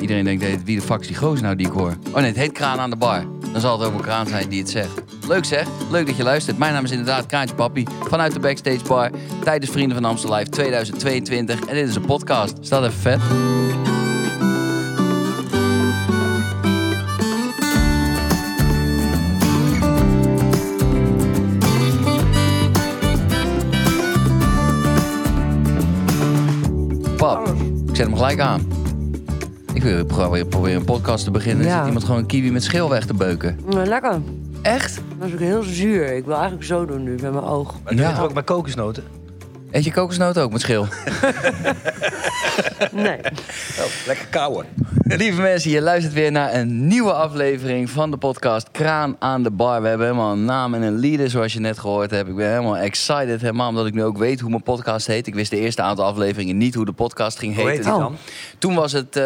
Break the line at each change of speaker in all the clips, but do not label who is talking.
Iedereen denkt, hey, wie de fuck is die gozer nou die ik hoor? Oh nee, het heet Kraan aan de bar. Dan zal het ook een kraan zijn die het zegt. Leuk zeg, leuk dat je luistert. Mijn naam is inderdaad Kraantje Papi vanuit de Backstage Bar tijdens Vrienden van Amstel Live 2022. En dit is een podcast. Staat even vet. Pap, ik zet hem gelijk aan. Ik wil proberen, proberen een podcast te beginnen. en
Ja.
Zit iemand gewoon een kiwi met schil weg te beuken?
Maar Eh, lekker.
Echt?
Dat is ook heel zuur. Ik wil eigenlijk zo doen nu met mijn oog.
Maar dat
Ja.
zit er ook bij kokosnoten.
Eet je kokosnoot ook met schil?
Nee.
Oh, lekker kauwen.
Nou, Lieve mensen, je luistert weer naar een nieuwe aflevering van de podcast Kraan aan de Bar. We hebben helemaal een naam en een leader, zoals je net gehoord hebt. Ik ben helemaal excited, helemaal omdat ik nu ook weet hoe mijn podcast heet. Ik wist de eerste aantal afleveringen niet hoe de podcast ging
Hoe heet
heten.
die
Oh.
dan?
Toen was het eh,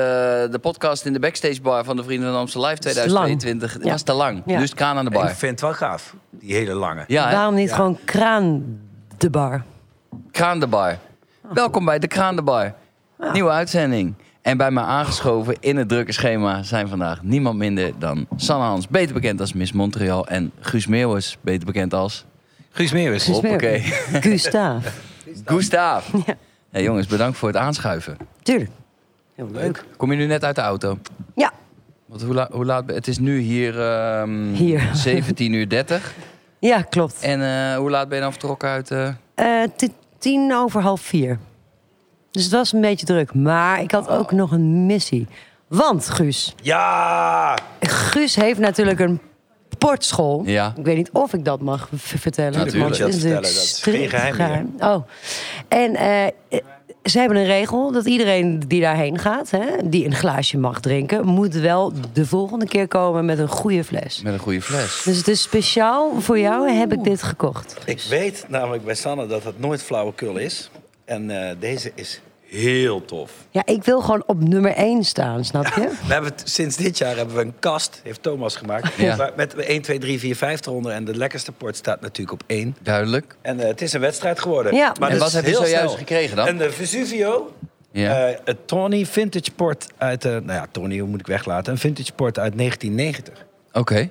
de podcast in de backstage bar van de Vrienden van Amstel Live
is te lang.
2022. Het
Ja.
was te lang,
Ja.
dus Kraan aan de Bar.
Ik vind het wel gaaf, die hele lange.
Ja, hè?
Waarom niet gewoon kraan de bar?
Kraan de Bar. Welkom bij de Kraan de Bar.
Ah.
Nieuwe uitzending. En bij mij aangeschoven in het drukke schema zijn vandaag niemand minder dan Sanne Hans, beter bekend als Miss Montreal. En Guus Meeuwis, beter bekend als
Guus Meeuwis.
Guus Meeuwis.
Hoppakee.
Gustaaf.
Gustaaf.
Ja.
Hey jongens, bedankt voor het aanschuiven.
Tuurlijk. Heel leuk.
Kom je nu net uit de auto?
Ja.
Want hoe, la- hoe laat? Het is nu hier, ehm,
Hier.
17 uur 30.
Ja, klopt.
En eh, hoe laat ben je dan vertrokken uit? eh,
Eh, Het is tien over half vier. Dus het was een beetje druk. Maar ik had ook nog een missie. Want Guus,
Ja!
Guus heeft natuurlijk een sportschool.
Ja.
Ik weet niet of ik dat mag v- vertellen.
Natuurlijk.
want het
Moet je dat
natuurlijk
vertellen, dat is geen
strikt
geheim
Oh. En eh, eh, ze hebben een regel dat iedereen die daarheen gaat, hè, die een glaasje mag drinken, moet wel de volgende keer komen met een goede fles.
met een goede fles.
Dus het is speciaal voor jou heb ik dit gekocht.
Ik weet namelijk bij Sanne dat het nooit flauwekul is. En eh, deze is heel tof.
Ja, ik wil gewoon op nummer 1 staan, snap je?
We hebben het- sinds dit jaar hebben we een kast, heeft Thomas gemaakt.
Ja.
waar- Met 1, 2, 3, 4, 5 eronder. En de lekkerste port staat natuurlijk op 1.
Duidelijk.
En eh, het is een wedstrijd geworden.
Ja.
Maar
En
dat
wat
is
heb je
heel
zojuist
snel.
gekregen dan?
Een eh, Vesuvio.
Ja.
Eh, een Tony Vintage Port uit... eh, nou ja, Tony, hoe moet ik weglaten? Een Vintage Port uit 1990.
Oké.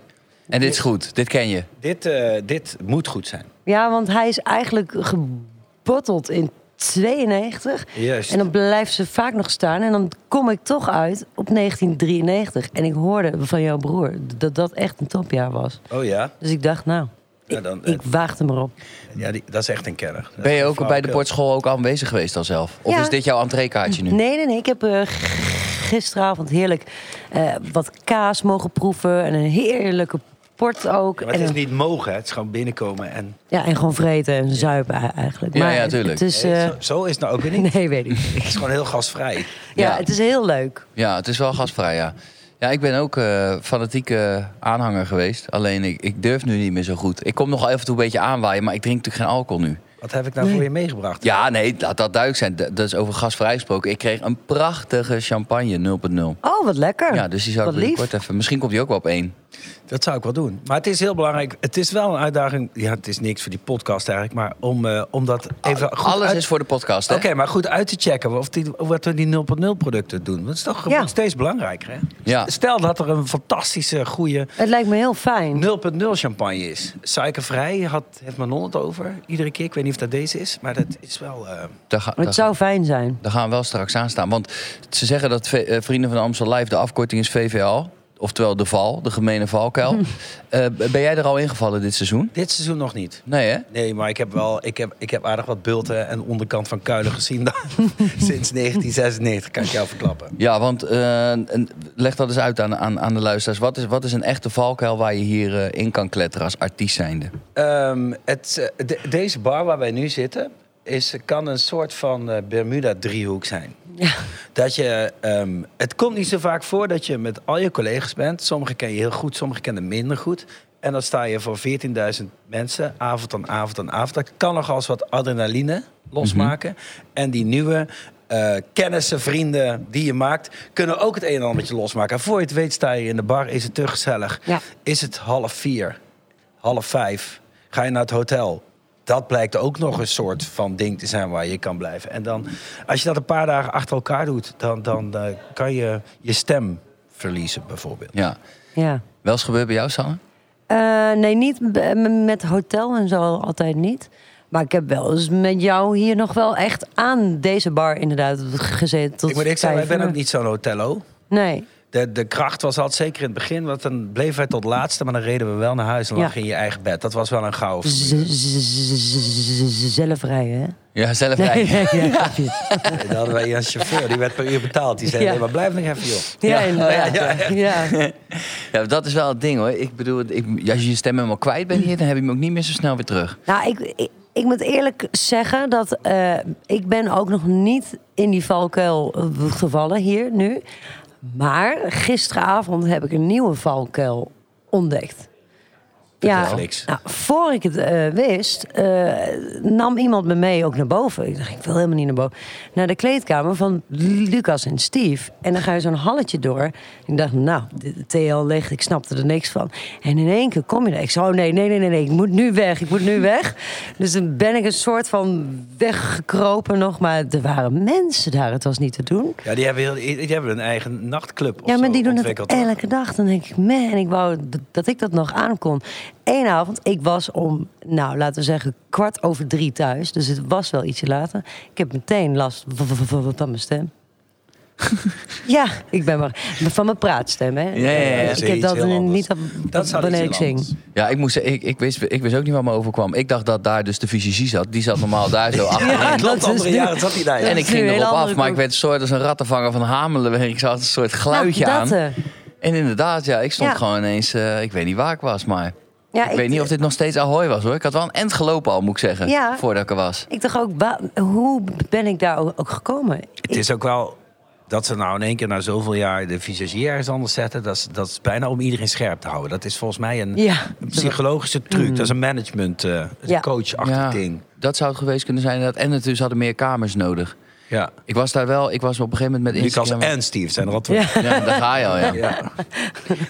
En dit is goed. Dit ken je.
Dit, eh, dit moet goed zijn.
Ja, want hij is eigenlijk gebotteld in 92.
Juist.
En dan blijft ze vaak nog staan. En dan kom ik toch uit op 1993. En ik hoorde van jouw broer dat dat echt een topjaar was.
Oh ja?
Dus ik dacht, nou,
Ja,
ik,
dan, eh,
ik waagde me op.
ja die, dat is echt een kenner. Dat
Ben
is
je
een
ook bij de
flauwekul.
sportschool ook aanwezig geweest al zelf? Of
Ja.
is dit jouw entreekaartje nu?
Nee, nee, nee. Ik heb eh, gisteravond heerlijk eh, wat kaas mogen proeven. En een heerlijke port ook.
Ja, maar het
en,
is
een-
niet mogen, hè. het is gewoon binnenkomen. En,
ja, en gewoon vreten en zuipen e- eigenlijk.
Ja,
maar
ja,
het-
tuurlijk.
Het is,
Nee,
eh,
zo, zo is het nou ook weer niet.
nee, weet ik niet.
Het is gewoon heel gasvrij.
Ja,
Ja.
het is heel leuk.
Ja, het is wel gastvrij, ja. Ja, ik ben ook eh fanatieke aanhanger geweest. Alleen ik, ik durf nu niet meer zo goed. Ik kom nog af en toe een beetje aanwaaien, maar ik drink natuurlijk geen alcohol nu.
Wat heb ik nou voor je meegebracht?
Ja, nee, laat dat duidelijk zijn. D- dat is over gasvrij gesproken. Ik kreeg een prachtige champagne 0.0.
Oh, wat lekker.
Ja, dus die zou
wat
ik
lief.
binnenkort even... Misschien komt die ook wel op één.
Dat zou ik wel doen. Maar het is heel belangrijk. Het is wel een uitdaging. Ja, het is niks voor die podcast eigenlijk. Maar om, eh, om dat even goed
Alles
uit-
is voor de podcast, hè?
Oké, maar goed uit te checken of die, wat we die 0.0 producten doen. Dat is toch
Ja.
wordt steeds belangrijker, hè?
Ja.
Stel dat er een fantastische, goede
Het lijkt me heel fijn.
0.0 champagne is. Suikervrij had, heeft Manon het over. Iedere keer. Ik weet niet of dat deze is. Maar dat is wel... eh,
Daar ga-
Maar
daar-
het zou fijn zijn.
Daar gaan we wel straks aan staan. Want ze zeggen dat V- eh, Vrienden van Amstel Live de afkorting is VVL. Oftewel de val, de gemene valkuil. Eh, b- ben jij er al ingevallen dit seizoen?
dit seizoen nog niet.
Nee, hè?
Nee, maar ik heb wel... Ik heb, ik heb aardig wat bulten en onderkant van kuilen gezien. dan. Sinds 1996 kan ik jou verklappen.
Ja, want eh, en leg dat eens uit aan, aan, aan de luisteraars. Wat is, wat is een echte valkuil waar je hier eh, in kan kletteren als artiest zijnde?
Ehm, het, eh, de- deze bar waar wij nu zitten is, kan een soort van eh, Bermuda-driehoek zijn. Dat je, ehm, het komt niet zo vaak voor dat je met al je collega's bent. Sommigen ken je heel goed, sommigen kennen minder goed. En dan sta je voor 14.000 mensen, avond aan avond aan avond. Dat kan nogal eens wat adrenaline losmaken. En die nieuwe eh, kennissen, vrienden die je maakt, kunnen ook het een en ander met je losmaken. En voor je het weet sta je in de bar, is het te gezellig.
Ja.
Is het half vier, half vijf, ga je naar het hotel. dat blijkt ook nog een soort van ding te zijn waar je kan blijven. En dan, als je dat een paar dagen achter elkaar doet, dan, dan eh, kan je je stem verliezen, bijvoorbeeld.
Ja.
Ja.
Wel eens gebeurd bij jou, Sanne?
Eh, nee, niet b- m- met hotel en zo altijd niet. Maar ik heb wel eens met jou hier nog wel echt aan deze bar inderdaad gezeten. Tot
ik moet ik zeggen, ik
vijf
ben ook
uur.
niet zo'n hotello.
Nee.
De, de kracht was altijd zeker in het begin, want dan bleef hij tot laatste, maar dan reden we wel naar huis en
Ja.
lag je in je eigen bed. Dat was wel een gauw.
Z- z- z- z- z- Zelf rijden, hè?
Ja, zelf
Nee,
rijden.
nee, nee, grapje.
Dan hadden wij een chauffeur, die werd per uur betaald. Die zei,
Ja.
nee, maar blijf nog even, joh.
Ja, inderdaad. Ja, ja.
Ja, dat is wel het ding hoor. Ik bedoel, ik, als je je stem helemaal kwijt bent hier, dan heb je hem ook niet meer zo snel weer terug.
Nou, ik, ik, ik moet eerlijk zeggen dat eh, ik ben ook nog niet in die valkuil eh, gevallen hier nu. Maar gisteravond heb ik een nieuwe valkuil ontdekt. Ja,
Netflix.
nou, voor ik het eh, wist, eh, nam iemand me mee ook naar boven. Ik dacht, ik wil helemaal niet naar boven. Naar de kleedkamer van Lucas en Steve. En dan ga je zo'n halletje door. Ik dacht, nou, de TL leeg, ik snapte er niks van. En in één keer kom je daar. Ik zei, oh nee, nee, nee, nee, nee, ik moet nu weg, ik moet nu weg. Dus dan ben ik een soort van weggekropen nog. Maar er waren mensen daar, het was niet te doen.
Ja, die hebben, heel, die hebben een eigen nachtclub of
Ja,
zo
maar die doen het
ontwikkeld.
elke dag. Dan denk ik, man, ik wou d- dat ik dat nog aankon. Eén avond, ik was om, nou, laten we zeggen, kwart over drie thuis. Dus het was wel ietsje later. Ik heb meteen last v- v- v- van mijn stem. ja, ik ben maar van mijn praatstem, hè.
ja, ja,
dat
Eh,
is
Ik heb
iets
dat
heel
in-
anders.
niet dat,
Dat zou
wanneer ik
iets heel
zing.
anders.
Ja, ik, moest, ik, ik, wist, ik wist ook niet wat me overkwam. Ik dacht dat daar dus de fysici zat. Die zat normaal daar zo achter.
Ja,
Klopt,
dat is
andere
nu-
jaren zat hij daar, ja.
en ik
is nu
ging
een hele
erop af,
andere
maar ik
koek.
werd een soort als een rattenvanger van Hamelen. Ik zag een soort geluidje
Nou,
aan.
dat, eh.
En inderdaad, ja, ik stond
Ja.
gewoon ineens... eh, ik weet niet waar ik was, maar...
Ja,
ik, weet niet of dit nog steeds Ahoy was, hoor. Ik had wel een end gelopen al, moet ik zeggen.
Ja.
Voordat ik er was.
Ik dacht ook, wa- hoe ben ik daar ook ook gekomen?
Het is ook wel dat ze nou in één keer na zoveel jaar de visagie ergens anders zetten. Dat is, dat is bijna om iedereen scherp te houden. Dat is volgens mij een,
Ja. Mm.
een psychologische truc. Dat is een management, eh een
Ja.
coachachtig
Ja,
ding.
dat zou het geweest kunnen zijn. inderdaad. En het dus hadden meer kamers nodig.
Ja.
Ik was daar wel... Ik was op een gegeven moment met
Lucas
Instagram...
en Steve zijn er al twee.
Ja, daar ga je al, ja.
Ja.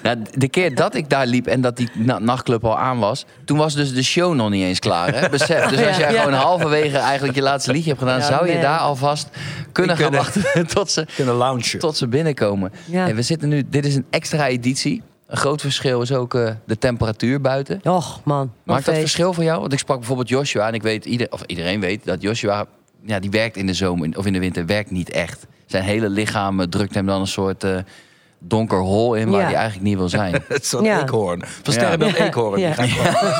Nou, de keer dat ik daar liep en dat die na- nachtclub al aan was, toen was dus de show nog niet eens klaar. Hè? Besef. Dus als jij
Ja.
gewoon halverwege eigenlijk je laatste liedje hebt gedaan,
Ja,
zou je
man.
daar alvast kunnen
Die
gaan
kunnen-
wachten tot ze,
Kunnen loungen.
tot ze binnenkomen.
Ja.
En we zitten nu, dit is een extra editie. Een groot verschil is ook eh, de temperatuur buiten.
Och, man. wat
Maakt dat
feest.
verschil voor jou? Want ik sprak bijvoorbeeld Joshua en ik weet, ieder, of iedereen weet dat Joshua, ja, die werkt in de zomer of in de winter, werkt niet echt. Zijn hele lichaam eh, drukt hem dan een soort eh, donker hol in waar
Ja.
hij eigenlijk niet wil zijn.
Het is zo'n
Ja.
eekhoorn. Van
Ja.
Sterrenbeeld
Ja.
eekhoorn.
Ja.
Die gaat gewoon-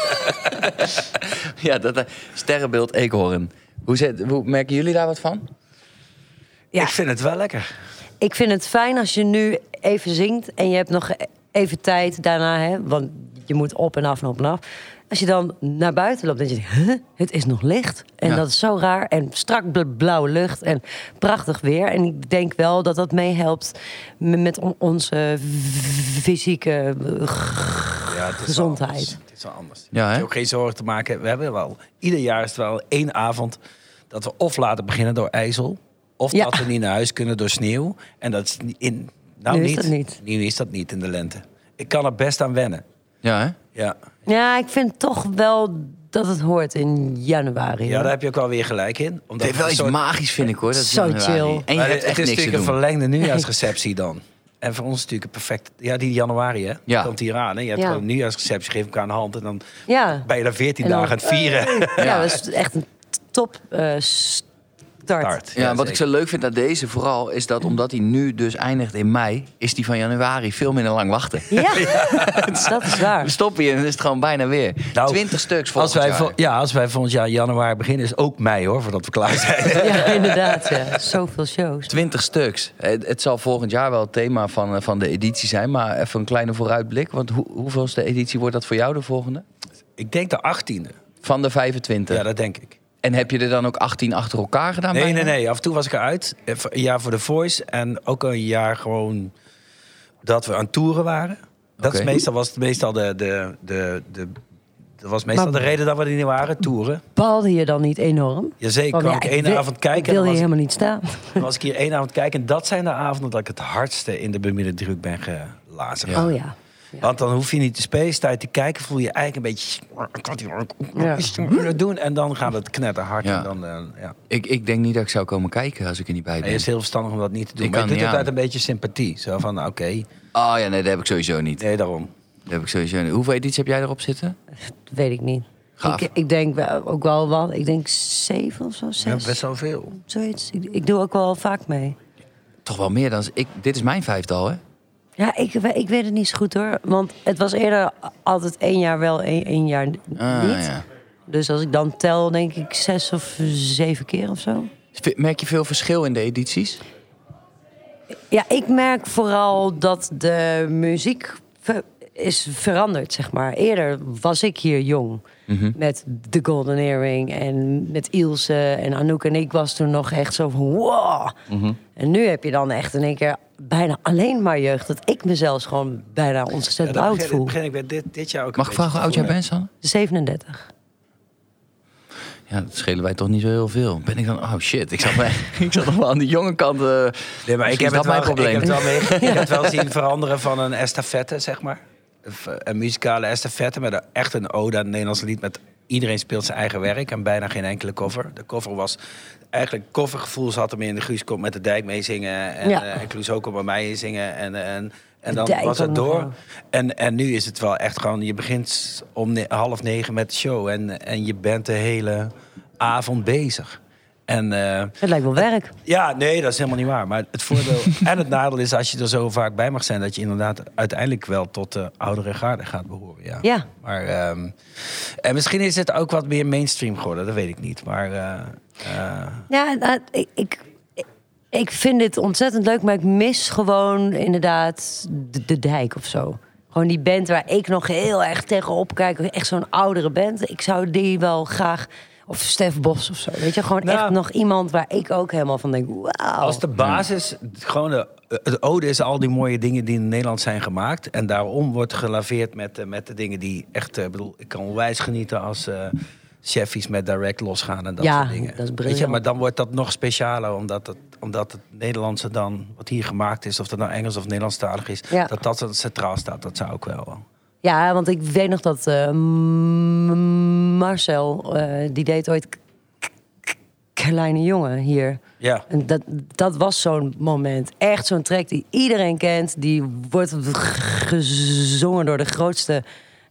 Ja, dat, eh, sterrenbeeld eekhoorn. Hoe, zit, hoe merken jullie daar wat van?
Ja.
Ik vind het wel lekker.
Ik vind het fijn als je nu even zingt en je hebt nog even tijd daarna, hè, want je moet op en af en op en af. Als je dan naar buiten loopt, dan denk je, huh, het is nog licht. En
Ja.
dat is zo raar. En strak bla- blauwe lucht en prachtig weer. En ik denk wel dat dat meehelpt m- met on- onze f- fysieke... eh,
Ja, het is wel
Gezondheid.
anders. Het is wel anders.
Ja,
Je
hè?
hebt ook geen zorgen te maken. We hebben wel. Ieder jaar is het wel één avond dat we of laten beginnen door ijzel. Of
Ja.
dat we niet naar huis kunnen door sneeuw. En dat is ni- in. Nou,
Nu is
niet.
dat niet.
Nu is dat niet in de lente. Ik kan er best aan wennen.
Ja, hè?
Ja.
Ja, ik vind toch wel dat het hoort in januari.
ja,
hoor.
daar heb je ook wel weer gelijk in. Omdat
Het heeft wel
een
iets
soort-
magisch, vind ik hoor. Dat is
Zo
januari.
chill.
En je
Maar
hebt echt
het is
niks te
natuurlijk een
doen.
verlengde nieuwjaarsreceptie dan. En voor ons is het natuurlijk een perfect. Ja, die januari, hè?
Ja.
Komt hier aan. Hè? Je hebt
Ja.
gewoon een nieuwjaarsreceptie, geef elkaar een hand. En dan
Ja.
ben je daar 14
En dan-
dagen aan het vieren.
Ja,
Ja.
dat is echt een top eh, start.
Start.
Ja, wat
zeker.
ik zo leuk vind aan deze vooral is dat omdat hij nu dus eindigt in mei, is die van januari veel minder lang wachten.
Ja, dat is
We
waar.
stoppen hier en dan is het gewoon bijna weer.
Nou,
20 stuks volgens
Als wij,
jaar.
vol- ja, als wij volgend jaar januari beginnen, is ook mei hoor, voordat we klaar zijn.
Ja, inderdaad. Ja. Zoveel shows.
20 stuks. Het, het zal volgend jaar wel het thema van, eh, van de editie zijn, maar even een kleine vooruitblik. Want hoe, hoeveelste editie wordt dat voor jou de volgende?
ik denk de 18e.
Van de 25.
Ja, dat denk ik.
En heb je er dan ook 18 achter elkaar
Ah,
gedaan?
Nee,
bijna?
nee, nee. Af en toe was ik eruit. Even Een jaar voor The Voice en ook een jaar gewoon dat we aan toeren waren. Dat is
Oké.
meestal, was het meestal de, de, de, de, dat was meestal
Maar-
de reden dat we er niet waren, toeren.
baalde je dan niet enorm?
Jazeker, kwam ik één
wil-
avond kijken.
Oh, Ik
en
wilde
dan
hier
was,
helemaal niet staan.
dan was ik hier één avond kijken. En dat zijn de avonden dat ik het hardste in de Bermuda druk ben gelazen.
Oh ja.
Want dan hoef je niet te spelen, sta je te kijken, voel je eigenlijk een beetje... Ik had hier ook-
Ja.
doen en dan gaat het knetterhard.
Ja.
En dan, eh, ja.
Ik, ik denk niet dat ik zou komen kijken als ik er niet bij
Nee,
ben.
het is heel verstandig om dat niet te doen.
Ik
maar
kan
je doet
niet
het uit
aan.
een beetje sympathie. Zo van, nou, oké,
Oh ja, nee, dat heb ik sowieso niet.
nee, daarom.
Dat heb ik sowieso niet. Hoeveel edities heb jij erop zitten?
Dat weet ik niet.
Gaaf.
Ik, ik denk wel- ook wel wat. Ik denk zeven of zo,
Ja,
zes.
best wel veel.
Zoiets. Ik, ik doe ook wel vaak mee.
Toch wel meer dan... Ik, dit is mijn vijftal, hè?
Ja, ik, we- ik weet het niet zo goed hoor. Want het was eerder altijd één jaar wel, één, één jaar n-
Ah,
niet.
ja.
Dus als ik dan tel, denk ik zes of zeven keer of zo.
V- Merk je veel verschil in de edities?
Ja, ik merk vooral dat de muziek ver- is veranderd, zeg maar. Eerder was ik hier jong.
Mhm.
Met The Golden Earring en met Ilse en Anouk. En ik was toen nog echt zo van wow.
Mhm.
En nu heb je dan echt in één keer bijna alleen maar jeugd. Dat ik mezelf gewoon bijna
Ja,
ontzettend
dat
oud
begin, dat
voel.
begin ik weer dit, dit jaar ook
Mag
een
ik
beetje
vragen hoe oud
te
jij
voelen.
bent, Sanne?
37.
Ja, dat schelen wij toch niet zo heel veel. Ben ik dan... Oh shit, ik zat, bij, ik zat nog wel aan de jonge kant. eh.
Nee, maar ik
Misschien is
heb,
dat mijn
het wel, ik
probleem.
heb het wel mee. Ik heb het wel zien veranderen van een estafette, zeg maar. Of, eh, Een muzikale estafette met een- echt een ode aan het Nederlands lied. Met iedereen speelt zijn eigen werk en bijna geen enkele cover. De cover was eigenlijk covergevoel zat hem in. De Guus komt met de dijk meezingen en,
Ja.
ja. en Kloes ook komt met mij zingen. En, en, en dan
Dijk
was
ook
het
nog
door.
wel.
En, en nu is het wel echt gewoon, je begint om ne- half negen met de show en, en je bent de hele avond bezig. En eh,
Het lijkt wel werk.
ja, nee, dat is helemaal niet waar. Maar het voordeel en het nadeel is als je er zo vaak bij mag zijn, dat je inderdaad uiteindelijk wel tot de oudere garde gaat behoren. Ja.
Ja.
Maar ehm, en misschien is het ook wat meer mainstream geworden, dat weet ik niet. Maar eh, eh,
Ja, nou, ik, ik, ik vind dit ontzettend leuk, maar ik mis gewoon inderdaad de, de dijk of zo. Gewoon die band waar ik nog heel erg tegenop kijk. Echt zo'n oudere band. Ik zou die wel graag... Of Stef Bos of zo. Weet je, gewoon
Nou.
echt nog iemand waar ik ook helemaal van denk... Wauw.
als de basis gewoon de, het ode is al die mooie dingen die in Nederland zijn gemaakt en daarom wordt gelaveerd met, eh, met de dingen die echt, eh, ik bedoel, ik kan onwijs genieten als eh Cheffies met direct losgaan en dat
Ja,
soort dingen.
dat is
Weet je,
briljant.
maar dan wordt dat nog specialer, omdat het, omdat het Nederlandse dan, wat hier gemaakt is, of dat nou Engels of Nederlandstalig is,
Ja.
dat dat centraal staat. Dat zou ik wel.
Ja, want ik weet nog dat eh, M- Marcel, eh, die deed ooit... K- K- Kleine jongen hier.
Ja.
En dat, dat was zo'n moment. Echt zo'n track die iedereen kent. Die wordt g- gezongen door de grootste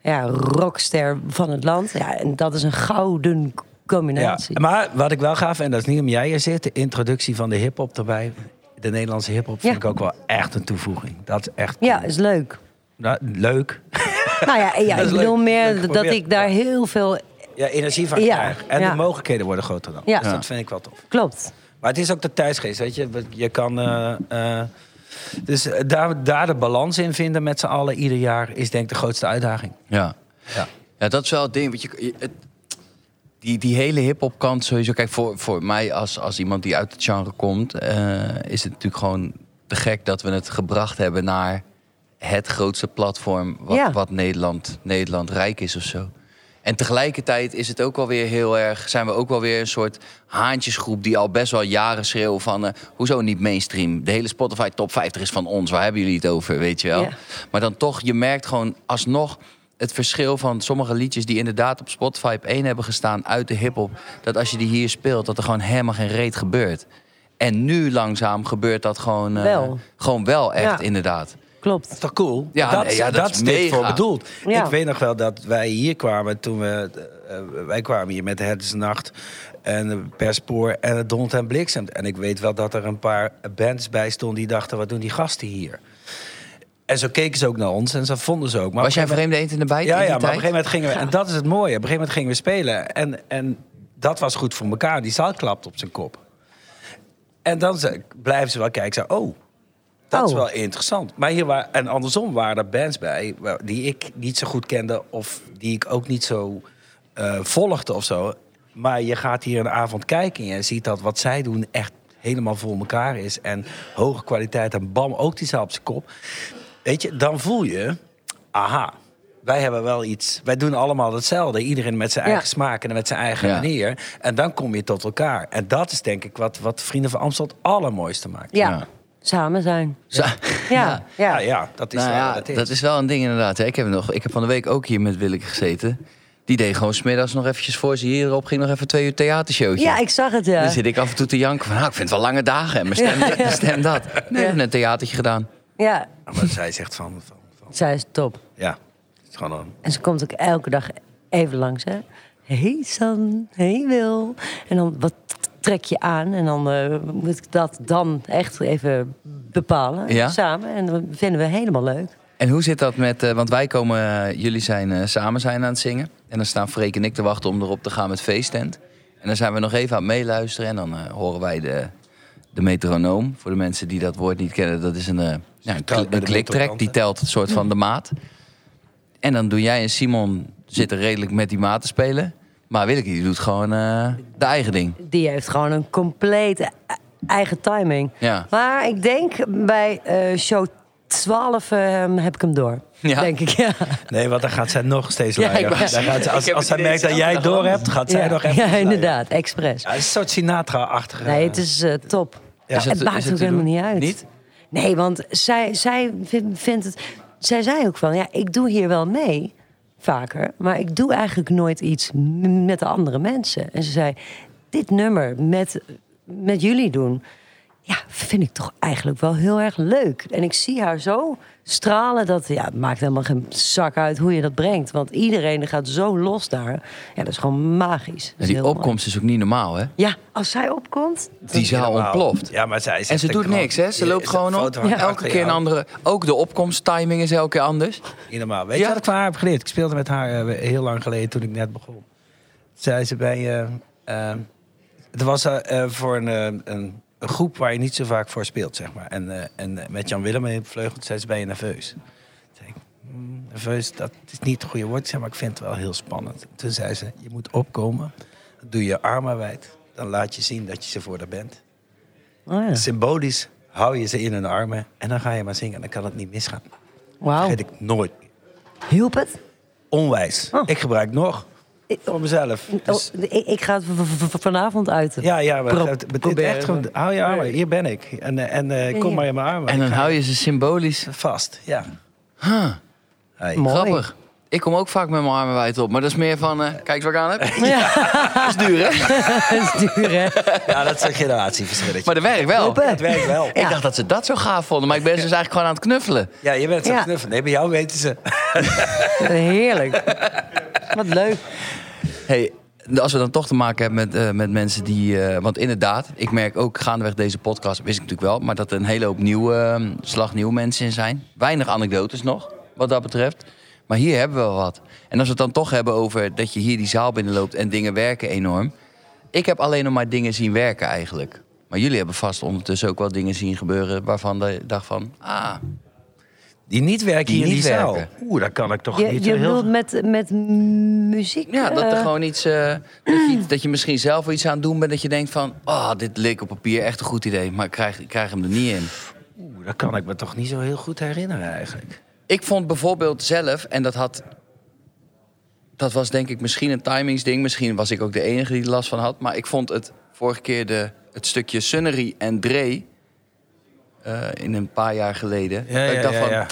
ja, rockster van het land. Ja, en dat is een gouden c-
Ja,
combinatie.
maar wat ik wel gaaf, en dat is niet om jij er zit, de introductie van de hip-hop erbij. De Nederlandse hip-hop vind
Ja.
ik ook wel echt een toevoeging. Dat is echt
Ja, is leuk.
Nou, leuk.
Nou ja, ja ik
Dat is
bedoel
leuk. Leuk
meer dat
geprobeerd.
ik daar
Ja.
heel veel...
Ja, energie van
Ja,
krijg. En
ja.
de mogelijkheden worden groter dan.
Ja.
Dus
Ja.
dat vind ik wel tof.
Klopt.
Maar het is ook de tijdsgeest, weet je. Je kan... eh, eh, dus daar, daar de balans in vinden met z'n allen ieder jaar... is denk ik de grootste uitdaging.
Ja.
Ja.
Ja, dat is wel het ding. Want je, je- het, die, die hele hip-hop kant sowieso. Kijk, voor, voor mij als, als iemand die uit het genre komt, eh, is het natuurlijk gewoon te gek dat we het gebracht hebben naar het grootste platform wat,
Ja.
wat Nederland, Nederland rijk is of zo. En tegelijkertijd is het ook wel weer heel erg, zijn we ook wel weer een soort haantjesgroep die al best wel jaren schreeuwen van eh, hoezo niet mainstream? De hele Spotify top 50 is van ons, waar hebben jullie het over, weet je wel?
Ja.
Maar dan toch, je merkt gewoon alsnog het verschil van sommige liedjes die inderdaad op Spotify op één hebben gestaan uit de hip-hop. Dat als je die hier speelt, dat er gewoon helemaal geen reet gebeurt. En nu langzaam gebeurt dat gewoon eh,
Wel.
Gewoon wel echt,
Ja.
inderdaad.
Klopt.
Dat is toch cool?
Ja,
dat,
nee, ja, dat
dat
is
is dit
mega.
voor bedoeld.
Ja.
Ik weet nog wel dat wij hier kwamen toen we... eh, wij kwamen hier met Het is Nacht en eh, Per Spoor en het Dont en Bliksem. En ik weet wel dat er een paar bands bij stonden die dachten... wat doen die gasten hier? En zo keken ze ook naar ons en zo vonden ze ook. Maar
Was jij
op een gegeven
vreemde eend in de bijt?
Ja,
in die
ja, maar op een
tijd?
gegeven moment gingen we... En dat is het mooie. Op een gegeven moment gingen we spelen. En, en dat was goed voor elkaar. Die zaal klapt op zijn kop. En dan ze- blijven ze wel kijken. Zo, oh, dat is
Oh.
wel interessant. Maar hier waren, en andersom waren er bands bij... waar- die ik niet zo goed kende... of die ik ook niet zo eh, volgde of zo. Maar je gaat hier een avond kijken... en je ziet dat wat zij doen echt helemaal voor elkaar is. En hoge kwaliteit. En bam, ook die zaal op zijn kop. Weet je, dan voel je, aha, wij hebben wel iets. Wij doen allemaal hetzelfde. Iedereen met zijn
Ja.
eigen smaak en met zijn eigen
Ja.
manier. En dan kom je tot elkaar. En dat is denk ik wat, wat Vrienden van Amsterdam het allermooiste maakt.
Ja,
Ja.
Samen zijn.
Zo-
Ja, ja.
Ja, ja, dat is
nou
wel
ja,
wat het is.
dat is wel een ding inderdaad. Hè. Ik, heb nog, ik heb van de week ook hier met Willeke gezeten. Die deed gewoon smiddags nog eventjes voor ze hierop ging nog even twee uur theatershowtje.
Ja, ik zag het, ja.
Dan zit ik af en toe te janken van, nou, ik vind het wel lange dagen. En mijn stem, dit, mijn stem dat. Nee, we hebben een theatertje gedaan.
Ja,
Ah, Maar zij zegt van, van, van-
zij is top.
ja, het is gewoon een...
En ze komt ook elke dag even langs, hè. Hey San, hey Wil. En dan, wat trek je aan? En dan eh, moet ik dat dan echt even bepalen,
Ja.
samen. En dat vinden we helemaal leuk.
En hoe zit dat met, eh, want wij komen, eh, jullie zijn eh, samen zijn aan het zingen. En dan staan Freek en ik te wachten om erop te gaan met feesttent. En dan zijn we nog even aan het meeluisteren. En dan eh, horen wij de, de metronoom. Voor de mensen die dat woord niet kennen, dat is een, eh, ja, een,
telt
kli-
bij
een
de
kliktrek.
muzikanten.
Die telt een soort van de maat. En dan doe jij en Simon zitten redelijk met die maat te spelen. Maar Willeke die doet gewoon eh, de eigen ding.
Die heeft gewoon een complete e- eigen timing.
Ja.
Maar ik denk bij eh, show 12 eh, heb ik hem door.
Ja.
Denk ik, ja.
Nee, want dan gaat zij nog steeds
Ja, ik
luier.
wou-
Dan gaat ze-
Ik
als
heb
als
het
zij
idee
merkt dat
zelf
jij het
nog wel.
door hebt, gaat zij
ja.
nog even...
Ja,
luieren.
inderdaad, expres.
Ja, het is een soort Sinatra-achtige...
Nee, het is eh, top.
Ja. Is
het-
het,
is
maakt
het
ook
te
helemaal
doen?
niet uit.
Niet?
Nee, want zij, zij vin- vindt het. Zij zei ook van ja, ik doe hier wel mee vaker, maar ik doe eigenlijk nooit iets m- met de andere mensen. En ze zei: Dit nummer met, met jullie doen, ja, vind ik toch eigenlijk wel heel erg leuk. En ik zie haar zo stralen dat ja, het maakt helemaal geen zak uit hoe je dat brengt, want iedereen gaat zo los daar. Ja, dat is gewoon magisch.
Ja,
Dat is
die
heel mooi.
opkomst is ook niet normaal, hè?
Ja, als zij opkomt,
Die zaal ontploft.
Ja, maar zij is
En ze
echt
doet
een knal.
niks, hè? Ze
Ja,
loopt
is
gewoon
een
op.
foto hangt
Elke
achter
keer een
jou.
andere. Ook de opkomsttiming is elke keer anders.
Niet normaal. Weet
Ja.
je wat ik van haar heb geleerd? Ik speelde met haar eh, heel lang geleden toen ik net begon. Zei ze bij... eh, eh, het was eh, eh, voor een, eh, een, een groep waar je niet zo vaak voor speelt, zeg maar. En, eh, en eh, met Jan Willem in vleugel zei ze, ben je nerveus? Toen zei ik, "Mm, nerveus, dat is niet het goede woord, zeg maar ik vind het wel heel spannend. Toen zei ze, je moet opkomen, doe je armen wijd. Dan laat je zien dat je ze voor de bent.
oh ja.
Symbolisch hou je ze in hun armen en dan ga je maar zingen. Dan kan het niet misgaan.
Wauw.
Vergeet ik nooit meer.
Hielp het?
Onwijs.
Oh.
Ik gebruik nog.
Ik-
Voor mezelf. Dus-
Oh, ik, ik ga het v- v- v- vanavond uiten.
ja, ja, maar
Pro-
het- het- het-
proberen.
echt gewoon, hou je armen, hier ben ik. En, eh, en eh,
Ja,
kom
ja.
maar in mijn armen.
En dan
Ik ga
hou je ze symbolisch.
vast, ja. Hey.
Mooi.
Grappig. Ik kom ook vaak met mijn armen wijd op. Maar dat is meer van, eh, kijk eens wat ik aan heb.
Ja,
Dat is duur, hè?
dat is duur, hè?
Ja, dat is een generatieverschilletje.
Maar dat werkt wel.
Hoppen.
Het werkt wel.
Ik dacht dat ze dat zo gaaf vonden. Maar ik ben ze dus eigenlijk gewoon aan het knuffelen.
Ja, je bent zo
Ja.
knuffel. Nee, bij jou weten ze.
Heerlijk. Wat leuk.
Hey, als we dan toch te maken hebben met, eh, met mensen die... eh, want inderdaad, ik merk ook gaandeweg deze podcast... wist ik natuurlijk wel, maar dat er een hele hoop nieuwe, eh, slag nieuwe mensen in zijn. Weinig anekdotes nog, wat dat betreft. Maar hier hebben we wel wat. En als we het dan toch hebben over dat je hier die zaal binnenloopt... en dingen werken enorm. Ik heb alleen nog maar dingen zien werken eigenlijk. Maar jullie hebben vast ondertussen ook wel dingen zien gebeuren... waarvan de dacht van, ah,
Die niet werken
Die
hier in die
niet
zaal.
werken.
Oeh, dat kan ik toch
Je,
niet
je
zo heel...
bedoelt met, met m- muziek?
Ja, dat er
eh,
gewoon iets. eh, dat, je, dat je misschien zelf wel iets aan het doen bent. Dat je denkt van. Oh, dit leek op papier echt een goed idee. Maar ik krijg, ik krijg hem er niet in.
Oeh, dat kan ik me toch niet zo heel goed herinneren eigenlijk.
Ik vond bijvoorbeeld zelf. En dat had. Dat was denk ik misschien een timingsding. Misschien was ik ook de enige die er last van had. Maar ik vond het vorige keer de, het stukje Sunnery en Dre. eh, in een paar jaar geleden.
Ja,
dat
ja,
ik dacht
ja,
van.
ja.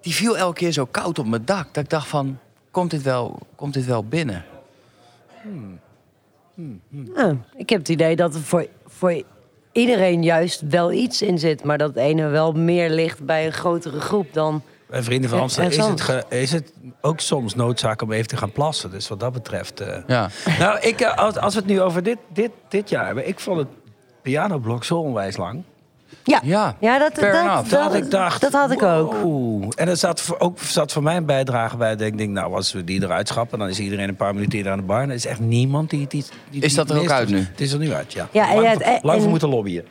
Die viel elke keer zo koud op mijn dak. Dat ik dacht van. Komt dit wel, komt dit wel binnen?
ah, ik heb het idee dat er voor, voor iedereen juist wel iets in zit. Maar dat het ene wel meer ligt bij een grotere groep dan...
Bij Eh, Vrienden van
Ja,
Amsterdam
en
is het,
soms.
ge- is het ook soms noodzaak om even te gaan plassen. Dus wat dat betreft... eh,
Ja.
Nou, ik, eh, als, als we het nu over dit, dit, dit jaar hebben. Ik vond het pianoblok zo onwijs lang.
Ja,
Ja,
dat,
fair
dat,
enough.
Dat,
dat,
ik dacht...
dat had ik ook.
wow. En er zat voor, ook zat voor mij een bijdrage bij. Dat ik denk, nou, als we die eruit schrappen... dan is iedereen een paar minuten eerder aan de bar. En er is echt niemand die het iets... die-
Is dat
die
er ook
mist.
uit nu?
Het is er nu uit, ja.
Ja, en
lang
ja,
voor-
het-
lang voor
en-
moeten lobbyen.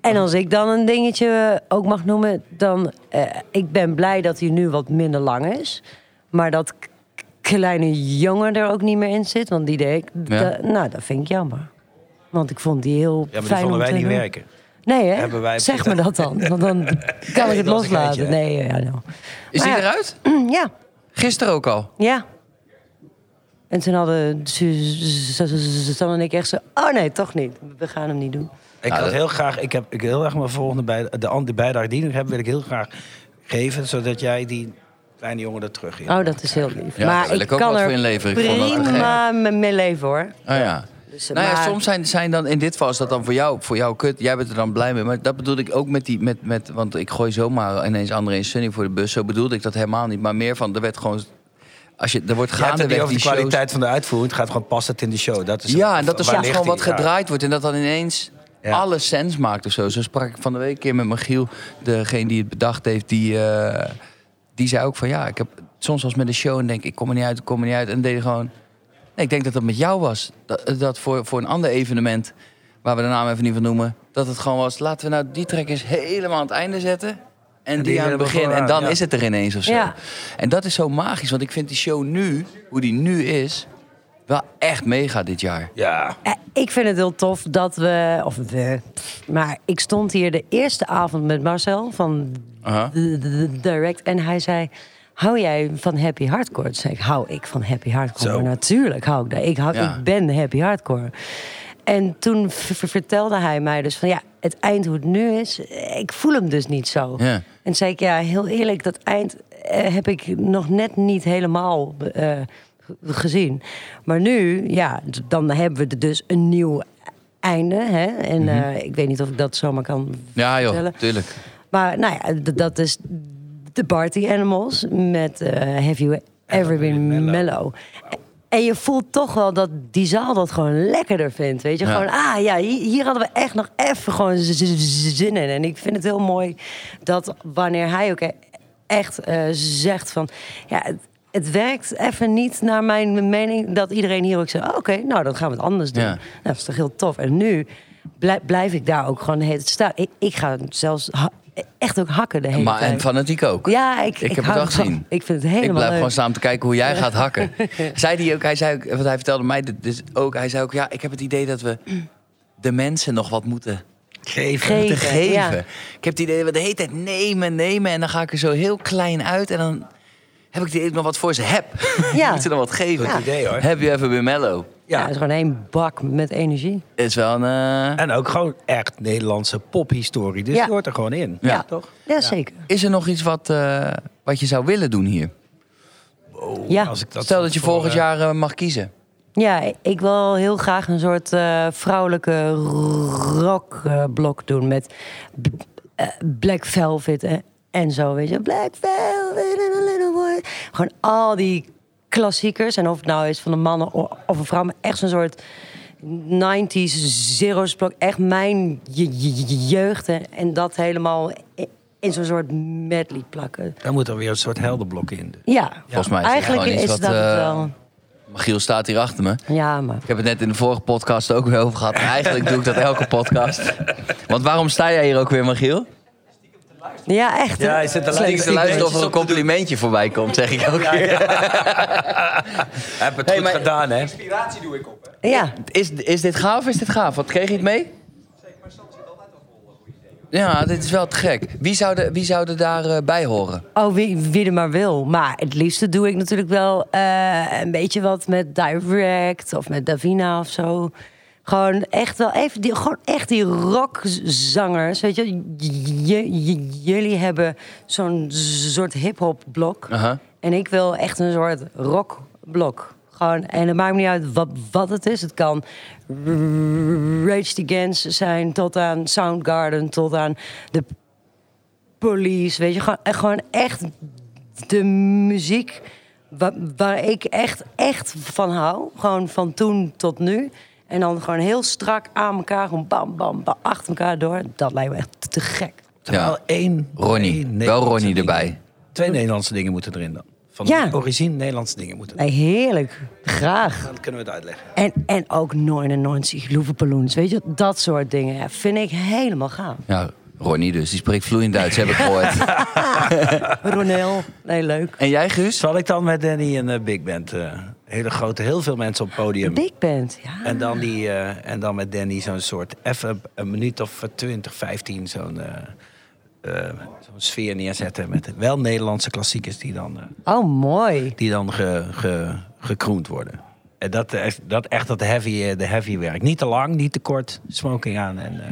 En als ik dan een dingetje eh, ook mag noemen, dan eh, ik ben blij dat hij nu wat minder lang is. Maar dat k- kleine jongen er ook niet meer in zit, want die deed ik.
Ja.
da- nou, dat vind ik jammer. Want ik vond die heel
Ja, maar die
fijn om
vonden wij
te
niet
doen.
werken.
Nee, hè?
Hebben wij-
zeg me dat dan. Want dan kan ik
dat
het
is een
loslaten.
geintje, hè?
Nee, ja, nou.
Is
Maar
die
ja,
eruit?
Ja,
Gisteren ook al.
ja. En toen hadden Suzanne en ik echt zo... Oh nee, toch niet. We gaan hem niet doen.
Ik
Nou,
had
dat-
heel graag, ik heb ik wil heel erg mijn volgende bij, de, an- de bijdrage die ik nog heb, wil ik heel graag geven, zodat jij die kleine jongen er terug
Ah,
in.
Oh, dat is heel lief.
Ja, daar
maar
wil
ik,
ik ook
kan
wat
er
voor inleveren. Ik vond dat te gek.
prima mee leven hoor.
Oh ja.
Dus, eh,
nou ja,
maar-
soms zijn, zijn dan, in dit geval is dat dan voor jou, voor jou kut. Jij bent er dan blij mee. Maar dat bedoel ik ook met die, met, met, want ik gooi zomaar ineens André en Sunny voor de bus. Zo bedoelde ik dat helemaal niet. Maar meer van, er werd gewoon, als je, er wordt
Jij hebt het
gaandeweg
niet over
die
de
shows...
kwaliteit van de uitvoering. Het gaat gewoon past het in de show. Dat is
Ja, en dat er
waar
soms
ligt
gewoon wat
die? Ja.
gedraaid wordt. En dat dan ineens
Ja.
alle sens maakt of zo. Zo sprak ik van de week een keer met Michiel. Degene die het bedacht heeft, die, eh, die zei ook van... Ja, ik heb soms als met een show en denk ik kom er niet uit, ik kom er niet uit. En deed gewoon... Nee, ik denk dat dat met jou was. Dat, dat voor, voor een ander evenement, waar we de naam even niet van noemen... dat het gewoon was, laten we nou die track eens helemaal aan het einde zetten... En, die,
die
aan het
helemaal
begin. En
vooraan,
dan
ja.
is het er ineens of zo.
Ja.
En dat is zo magisch. Want ik vind die show nu, hoe die nu is... wel echt mega dit jaar.
Ja.
Eh, Ik vind het heel tof dat we, of we, pff, maar ik stond hier de eerste avond met Marcel van
Aha.
de- de- de Direct en hij zei, hou jij van happy hardcore? Toen zei ik, hou ik van happy hardcore?
Zo.
Natuurlijk hou ik dat. Ik, hou,
Ja.
ik ben happy hardcore. En toen v- v- vertelde hij mij dus van ja, het eind hoe het nu is, eh, ik voel hem dus niet zo.
Ja.
En toen zei ik ja, heel eerlijk, dat eind eh, heb ik nog net niet helemaal eh, ge- gezien. Maar nu, ja, d- dan hebben we dus een nieuw einde. Hè? En
Mhm.
eh, ik weet niet of ik dat zomaar kan
Ja joh,
vertellen.
tuurlijk.
Maar nou ja, d- dat is de Party Animals met eh Have You Ever Been Mellow. En je voelt toch wel dat die zaal dat gewoon lekkerder vindt. Weet je,
Ja.
gewoon, ah ja, hi- hier hadden we echt nog even gewoon z- z- z- zin in. En ik vind het heel mooi dat wanneer hij ook e- echt eh, zegt van, ja, het, het werkt even niet naar mijn mening dat iedereen hier ook zegt, oh, oké, nou dan gaan we het anders doen.
Ja.
Nou, dat is toch heel tof. En nu blij- blijf ik daar ook gewoon de hele tijd staan. Ik, ik ga zelfs ha- echt ook hakken de hele
Maar
tijd.
en fanatiek ook.
Ja, ik,
Ik heb
hou
het al
van-
gezien.
Ik vind het
ik
helemaal
blijf
leuk.
gewoon staan om te kijken hoe jij gaat hakken. zei die ook, hij zei ook, want hij vertelde mij dit dus ook, hij zei ook, ja, ik heb het idee dat we de mensen nog wat moeten
Geven.
Geven.
te geven.
ja.
Ik heb het idee dat we de hele tijd nemen, nemen en dan ga ik er zo heel klein uit en dan heb ik die even nog wat voor ze heb.
Ja.
Moet ze dan wat geven.
Goed idee, hoor.
Heb je even bij Mello?
Ja,
Ja.
het is gewoon één bak met energie.
Is wel een. eh,
En ook gewoon echt Nederlandse pophistorie. Dus
Ja.
die hoort er gewoon in.
Ja.
Toch?
Ja, zeker.
Is er nog iets wat, eh, wat je zou willen doen hier?
Oh,
Ja.
als ik
Stel dat je
voor,
volgend
eh,
jaar eh, mag kiezen.
Ja, ik wil heel graag een soort eh, vrouwelijke rockblok doen met b- eh, Black Velvet en, en zo, weet je. Black Velvet and a little boy. Gewoon al die klassiekers. En of het nou is van een man o- of een vrouw, maar echt zo'n soort 90s zero's blok. Echt mijn je- je- je- jeugd. hè. En dat helemaal i- in zo'n soort medley plakken.
eh, Dan moet er weer een soort heldenblok in.
Ja,
Volgens mij is het
eigenlijk
gewoon iets
is
wat,
dat het
eh,
wel.
Giel staat hier achter me.
Ja, maar...
Ik heb het net in de vorige podcast ook weer over gehad. Eigenlijk doe ik dat elke podcast. Want waarom sta jij hier ook weer, Magiel?
Ja, echt. hè?
zit te
Als ik te luisteren of er een complimentje voorbij komt, zeg ik ook.
Heb het
Hey,
goed
maar-
gedaan, hè?
Inspiratie doe ik op, hè?
Ja.
Is, is dit gaaf of is dit gaaf? Wat kreeg je het mee?
Zeker, maar Sam zit altijd wel vol eh, goede ideeën.
Ja, dit is wel te gek. Wie zouden wie zouden daar eh, bij horen?
Oh, wie, wie er maar wil. Maar het liefste doe ik natuurlijk wel eh, een beetje wat met Direct of met Davina of zo. Gewoon echt wel even die, gewoon echt die rockzangers. Weet je, J- j- jullie hebben zo'n soort hip-hop blok.
Aha.
En ik wil echt een soort rockblok. Gewoon, en het maakt me niet uit wat, wat het is. Het kan Rage Against zijn, tot aan Soundgarden, tot aan de Police, weet je, gewoon, eh, gewoon echt de muziek wa- waar ik echt, echt van hou. Gewoon van toen tot nu. En dan gewoon heel strak aan elkaar, gewoon bam, bam, bam, achter elkaar door. Dat lijkt me echt te gek.
Terwijl één.
Ronnie.
één
Wel
Nederlandse
Ronnie
dingen.
erbij.
Twee Nederlandse dingen moeten erin dan. Van
Ja.
origine Nederlandse dingen moeten erin.
Nee, heerlijk. Graag.
Dan kunnen we het uitleggen.
En, en ook 99 Loevenpalloens, weet je, dat soort dingen. Ja, vind ik helemaal gaaf.
Ja, Ronnie dus. Die spreekt vloeiend Duits, heb ik gehoord.
Ronel, nee, leuk.
En jij, Guus?
Zal ik dan met Danny een eh, big band? eh, hele grote, heel veel mensen op het podium.
Big band, ja.
En dan, die, eh, en dan met Danny zo'n soort, even een minuut of 20, 15, zo'n eh, eh, zo'n sfeer neerzetten. Met wel Nederlandse klassiekers die dan, eh,
Oh, mooi.
die dan ge, ge- gekroend worden. En dat, eh, dat echt dat heavy, eh, de heavy werk. Niet te lang, niet te kort. Smoking aan en eh,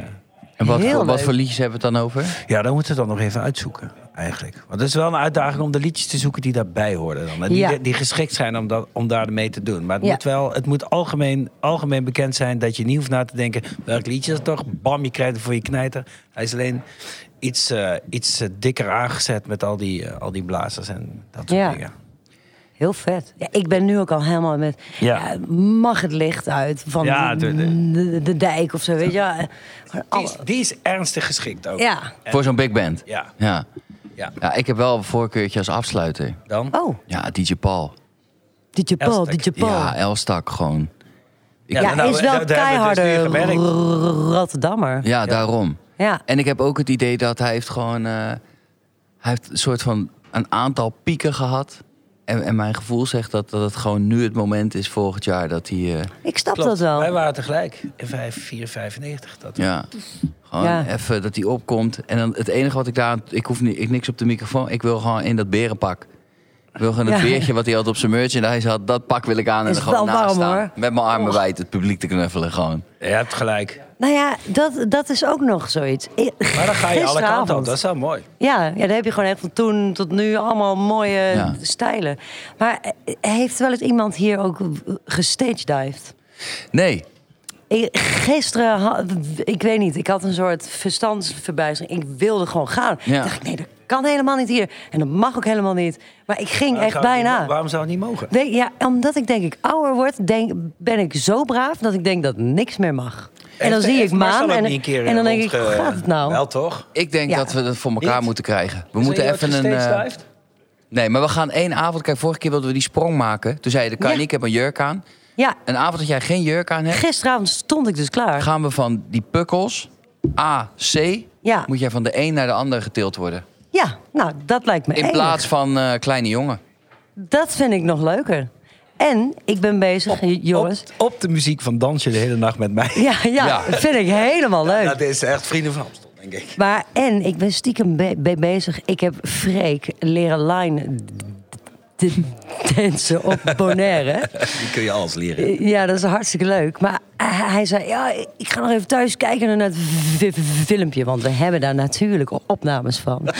En wat,
Heel
voor, wat
leuk.
voor liedjes hebben we het dan over?
Ja, dan moeten we dan nog even uitzoeken, eigenlijk. Want het is wel een uitdaging om de liedjes te zoeken die daarbij horen. Dan. En die,
Ja.
die geschikt zijn om, dat, om daarmee te doen. Maar het
Ja.
moet wel, het moet algemeen, algemeen bekend zijn dat je niet hoeft na te denken welk liedje is het toch? Bam, je krijgt het voor je knijter. Hij is alleen iets, eh, iets eh, dikker aangezet met al die, eh, al die blazers en dat soort
Ja.
dingen.
Heel vet. Ja, ik ben nu ook al helemaal met.
Ja.
ja, mag het licht uit van
Ja,
de,
de-
de, de dijk of zo, weet je? wel. Gewoon
Die
alle-
is, die is ernstig geschikt ook.
Ja.
Voor zo'n big band?
Ja.
ja.
Ja.
Ja, ik heb wel een voorkeurtje als afsluiter.
Dan?
Oh,
Ja, DJ Paul.
DJ Paul,
Elstek.
DJ Paul.
Ja,
Ja,
Elstak gewoon.
Ja, nou,
is wel
daar- daar hebben we dus
keiharde
nu gemerkt.
R- Rotterdammer.
Ja, daarom.
Ja.
En ik heb ook het idee dat hij heeft gewoon... eh, hij heeft een soort van een aantal pieken gehad. En, en mijn gevoel zegt dat, dat het gewoon nu het moment is volgend jaar dat hij... eh,
Ik snap
Klopt.
dat wel.
Wij waren tegelijk in 5, 4, 95. Dat
Ja. Gewoon
Ja.
even dat hij opkomt. En dan het enige wat ik daar... Ik hoef niet, ik niks op de microfoon. Ik wil gewoon in dat berenpak. Ik wil gewoon het
Ja.
beertje wat hij had op zijn merchandise had. Dat pak wil ik aan en
Is
er gewoon
wel warm,
naast staan.
hoor.
Met mijn armen wijd het publiek te knuffelen gewoon.
Je hebt gelijk.
Nou ja, dat, dat is ook nog zoiets. I-
Maar dan ga je alle
gisteravond.
kanten op. Dat is wel mooi.
Ja, ja, dan heb je gewoon echt van toen tot nu allemaal mooie
Ja.
stijlen. Maar eh, heeft wel eens iemand hier ook gestagedived?
Nee.
Ik, gisteren, ha- ik weet niet, ik had een soort verstandsverbijzing. Ik wilde gewoon gaan.
Ja.
Ik dacht, nee, dat kan helemaal niet hier. En dat mag ook helemaal niet. Maar ik ging
Waarom
echt
zou het niet mo-
bijna.
Waarom zou het niet mogen?
Weet, ja, omdat ik denk ik ouder word, denk, ben ik zo braaf dat ik denk dat niks meer mag. en dan
Heeft-
zie
heeft
ik maan
Marcel ook
en,
niet een keer,
en dan
eh,
denk ik, hoe
rondge-
gaat het nou?
Wel toch?
Ik denk
Ja.
dat we dat voor elkaar
Niet?
moeten krijgen. We
Is
moeten
er iemand
even een... eh,
gestagedived?
nee, maar we gaan één avond... Kijk, vorige keer wilden we die sprong maken. Toen zei je, dat kan
Ja.
je niet, ik heb een jurk aan.
Ja,
Een avond dat jij geen jurk aan hebt...
gisteravond stond ik dus klaar.
gaan we van die pukkels... A, C...
Ja.
moet jij van de een naar de ander getild worden.
Ja, nou, dat lijkt me
In
enig.
plaats van eh, kleine jongen.
Dat vind ik nog leuker. En ik ben bezig, jongens.
Op, op de muziek van Dansje de hele nacht met mij.
Ja, ja,
Ja.
dat vind ik helemaal leuk.
Dat is echt Vrienden van Amstel, denk ik.
Maar en ik ben stiekem be- be- bezig. Ik heb Freek leren line d- d- dansen op Bonaire.
Die kun je alles leren.
Ja, dat is hartstikke leuk. Maar hij hij zei, ja, ik ga nog even thuis kijken naar het v- v- filmpje. Want we hebben daar natuurlijk opnames van.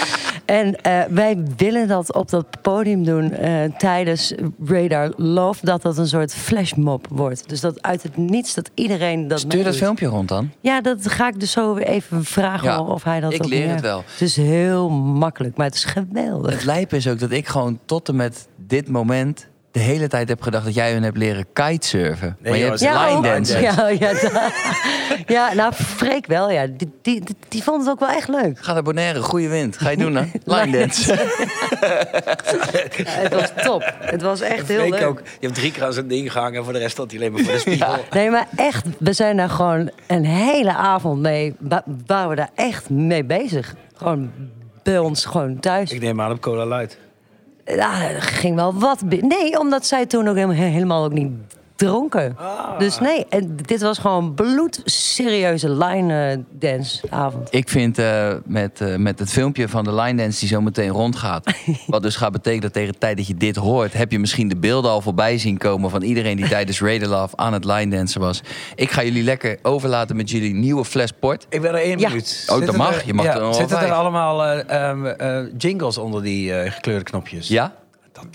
en eh, wij willen dat op dat podium doen eh, tijdens Radar Love. Dat dat een soort flashmob wordt. Dus dat uit het niets dat iedereen dat
Stuur dat
meedoet.
filmpje rond dan.
Ja, dat ga ik dus zo weer even vragen
Ja,
of hij dat
ik
ook
leer het
merkt.
wel.
Het is heel makkelijk, maar het is geweldig.
Het lijp is ook dat ik gewoon tot en met dit moment... de hele tijd heb gedacht dat jij hun hebt leren kitesurfen. maar je
joh,
hebt
ze-
line
ook.
dansen.
Ja, oh, ja, da- ja, nou, Freek wel, ja. Die, die, die, die vond het ook wel echt leuk.
Ga naar Bonaire, goede wind. Ga je doen dan? Line dansen.
Ja, het was top. Het was echt heel leuk.
ook. Je hebt drie keer aan zo'n ding gehangen en voor de rest stond hij alleen maar voor de spiegel.
Nee, maar echt, we zijn daar gewoon een hele avond mee. wa- Waren we daar echt mee bezig. Gewoon bij ons, gewoon thuis.
Ik neem aan op Cola Light.
Ja, er ging wel wat. bi- Nee, omdat zij toen ook helemaal, helemaal ook niet dronken. Dus nee, en dit was gewoon bloedserieuze line eh, dance avond.
Ik vind eh, met, eh, met het filmpje van de line dance die zo meteen rondgaat. Wat dus gaat betekenen dat tegen de tijd dat je dit hoort, heb je misschien de beelden al voorbij zien komen van iedereen die tijdens Raider Love aan het line dansen was. Ik ga jullie lekker overlaten met jullie nieuwe fles port.
Ik ben er één
Ja.
minuut.
Oh, dat
Zitten
mag. Je mag er nog wel
Zitten er
vijf.
allemaal eh, ehm, eh, jingles onder die eh, gekleurde knopjes?
Ja?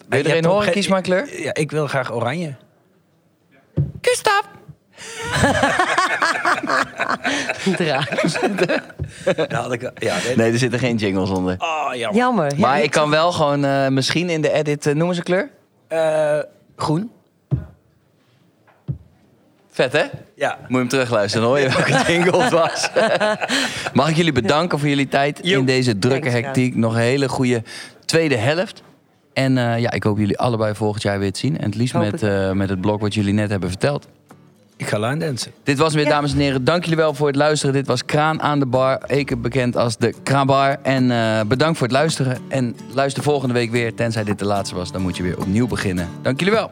Wil je er een
hebt op
horen?
ge-
Kies maar een kleur.
Ja, ik wil graag oranje.
Gustav!
Draak.
Dat had ik, ja, dit-
Nee, er zitten geen jingles onder.
Oh, jammer.
Jammer. Ja,
Maar ik kan wel gewoon eh, misschien in de edit, eh, noem eens een kleur.
Eh, groen?
Vet hè?
Ja.
Moet je hem terugluisteren, dan hoor je welke jingle het was. Mag ik jullie bedanken voor jullie tijd in deze drukke
Thanks,
hectiek. Nog een hele goede tweede helft. En eh, ja, ik hoop jullie allebei volgend jaar weer te zien. En het liefst
Hoop
met,
het.
eh, met het blog wat jullie net hebben verteld.
Ik ga line dansen.
Dit was weer,
Ja.
dames en heren. Dank jullie wel voor het luisteren. Dit was Kraan aan de Bar, eken bekend als de Kraanbar. En eh, bedankt voor het luisteren. En luister volgende week weer. Tenzij dit de laatste was, dan moet je weer opnieuw beginnen. Dank jullie wel.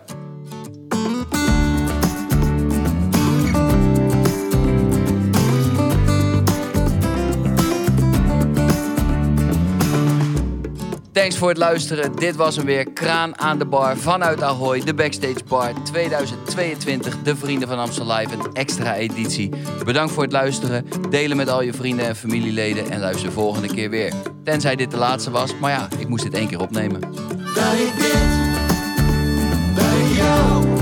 Thanks voor het luisteren. Dit was hem weer. Kraan aan de bar vanuit Ahoy. De Backstage Bar 2022. De Vrienden van Amstel Live. Een extra editie. Bedankt voor het luisteren. Delen met al je vrienden en familieleden. En luister volgende keer weer. Tenzij dit de laatste was. Maar ja, ik moest dit één keer opnemen.
dat ik dit bij jou